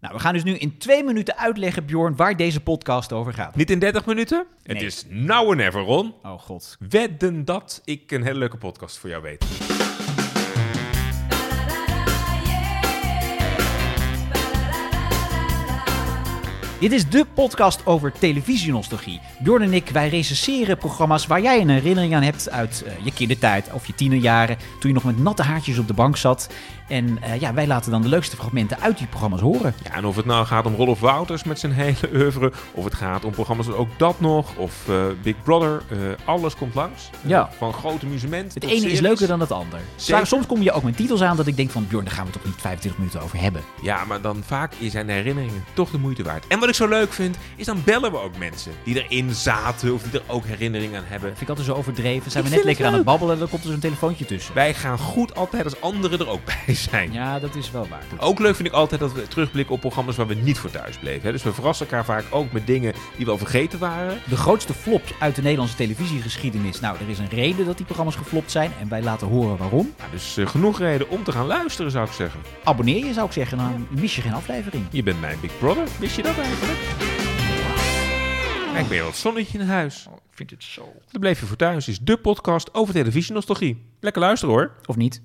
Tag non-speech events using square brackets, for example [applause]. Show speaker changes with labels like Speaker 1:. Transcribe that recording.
Speaker 1: Nou, we gaan dus nu in twee minuten uitleggen, Bjorn, waar deze podcast over gaat.
Speaker 2: Niet in 30 minuten? Het
Speaker 1: Nee.
Speaker 2: is nou en ever, Ron.
Speaker 1: Oh god.
Speaker 2: Wedden dat ik een hele leuke podcast voor jou weet.
Speaker 1: Dit is de podcast over televisienostalgie. Bjorn en ik, wij recenseren programma's waar jij een herinnering aan hebt uit eh, je kindertijd of je tienerjaren, toen je nog met natte haartjes op de bank zat. En eh, ja, wij laten dan de leukste fragmenten uit die programma's horen.
Speaker 2: Ja, en of het nou gaat om Rolf Wouters met zijn hele oeuvre, of het gaat om programma's als ook dat nog, of eh, Big Brother, eh, alles komt langs.
Speaker 1: Ja.
Speaker 2: Van groot amusement.
Speaker 1: Het
Speaker 2: tot
Speaker 1: ene is
Speaker 2: series.
Speaker 1: leuker dan het ander.
Speaker 2: Zeker.
Speaker 1: Soms kom je ook met titels aan dat ik denk van Bjorn, daar gaan we toch niet 25 minuten over hebben.
Speaker 2: Ja, maar dan vaak zijn de herinneringen toch de moeite waard. En wat ik zo leuk vind, is dan bellen we ook mensen die erin zaten of die er ook herinneringen aan hebben.
Speaker 1: Dat vind ik altijd zo overdreven. Zijn
Speaker 2: Ik
Speaker 1: we net
Speaker 2: vind het
Speaker 1: lekker aan
Speaker 2: leuk.
Speaker 1: het babbelen en dan komt er zo'n telefoontje tussen.
Speaker 2: Wij gaan goed altijd als anderen er ook [laughs] bij zijn.
Speaker 1: Ja, dat is wel waar.
Speaker 2: Ook leuk vind ik altijd dat we terugblikken op programma's waar we niet voor thuis bleven. Hè. Dus we verrassen elkaar vaak ook met dingen die we al vergeten waren.
Speaker 1: De grootste flop uit de Nederlandse televisiegeschiedenis. Nou, er is een reden dat die programma's geflopt zijn en wij laten horen waarom.
Speaker 2: Nou, dus eh, genoeg reden om te gaan luisteren, zou ik zeggen.
Speaker 1: Abonneer je zou ik zeggen, dan mis je geen aflevering.
Speaker 2: Je bent mijn Big Brother. Wist je dat eigenlijk? Kijk, ik ben wel het zonnetje in huis.
Speaker 1: Oh, Ik vind het zo.
Speaker 2: Dat bleef je voor thuis. Is de podcast over televisie nostalgie. Lekker luisteren hoor.
Speaker 1: Of niet?